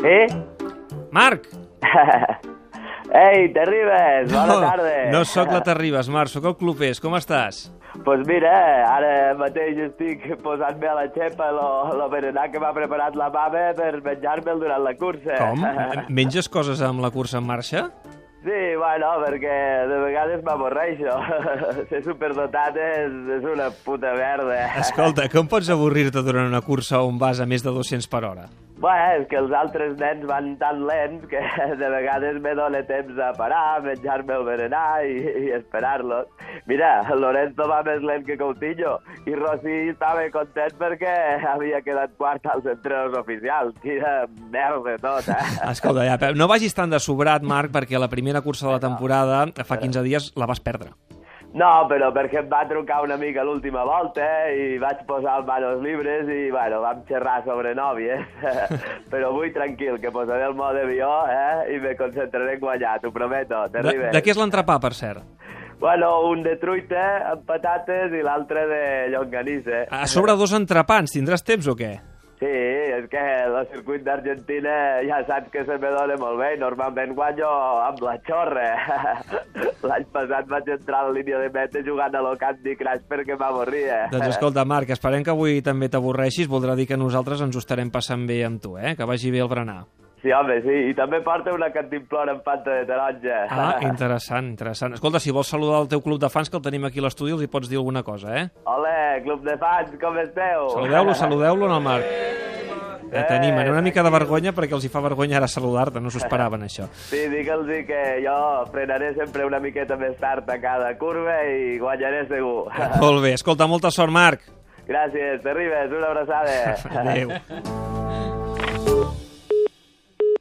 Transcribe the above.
Sí? Marc! Ei, Terribas, bona tarda. no sóc la Terribas, Marc, sóc el Clopés. Com estàs? pues mira, ara mateix estic posant-me a la xepa lo, lo berenar que m'ha preparat la mama per menjar-me'l durant la cursa. Com? Menges coses amb la cursa en marxa? Sí, bueno, perquè de vegades m'avorreixo. Ser superdotat és, és una puta merda. Escolta, com pots avorrir-te durant una cursa on vas a més de 200 per hora? Bé, és que els altres nens van tan lents que de vegades me dóna temps a parar, menjar-me el berenar i, i esperar-los. Mira, Lorenzo va més lent que Coutinho i Rossi estava content perquè havia quedat quart als entrenos oficials. Quina merda tot, eh? Escolta, ja, Pep, no vagis tan de sobrat, Marc, perquè la primera cursa de la temporada, fa 15 dies, la vas perdre. No, però perquè em va trucar una mica l'última volta eh, i vaig posar els manos libres i, bueno, vam xerrar sobre nòvies. però avui tranquil, que posaré el mode avió eh, i me concentraré en guanyar, t'ho prometo, De, t'arribes. de què és l'entrepà, per cert? Bueno, un de truita amb patates i l'altre de llonganissa. A sobre dos entrepans, tindràs temps o què? Sí, és que el circuit d'Argentina ja saps que se me dona molt bé. Normalment guanyo amb la xorra. L'any passat vaig entrar a la línia de meta jugant a lo Candy Crush perquè m'avorria. Doncs escolta, Marc, esperem que avui també t'avorreixis. Voldrà dir que nosaltres ens ho estarem passant bé amb tu, eh? Que vagi bé el berenar. Sí, home, sí. I també porta una cantimplora amb panta de taronja. Ah, interessant, interessant. Escolta, si vols saludar el teu club de fans, que el tenim aquí a l'estudi, els hi pots dir alguna cosa, eh? Hola, club de fans, com esteu? Saludeu-lo, saludeu-lo en el Marc. Ja tenim, ara una mica de vergonya perquè els hi fa vergonya ara saludar-te, no s'ho esperaven això. Sí, digue'ls que jo frenaré sempre una miqueta més tard a cada curva i guanyaré segur. Molt bé, escolta, molta sort Marc. Gràcies, t'arribes, una abraçada. Adéu.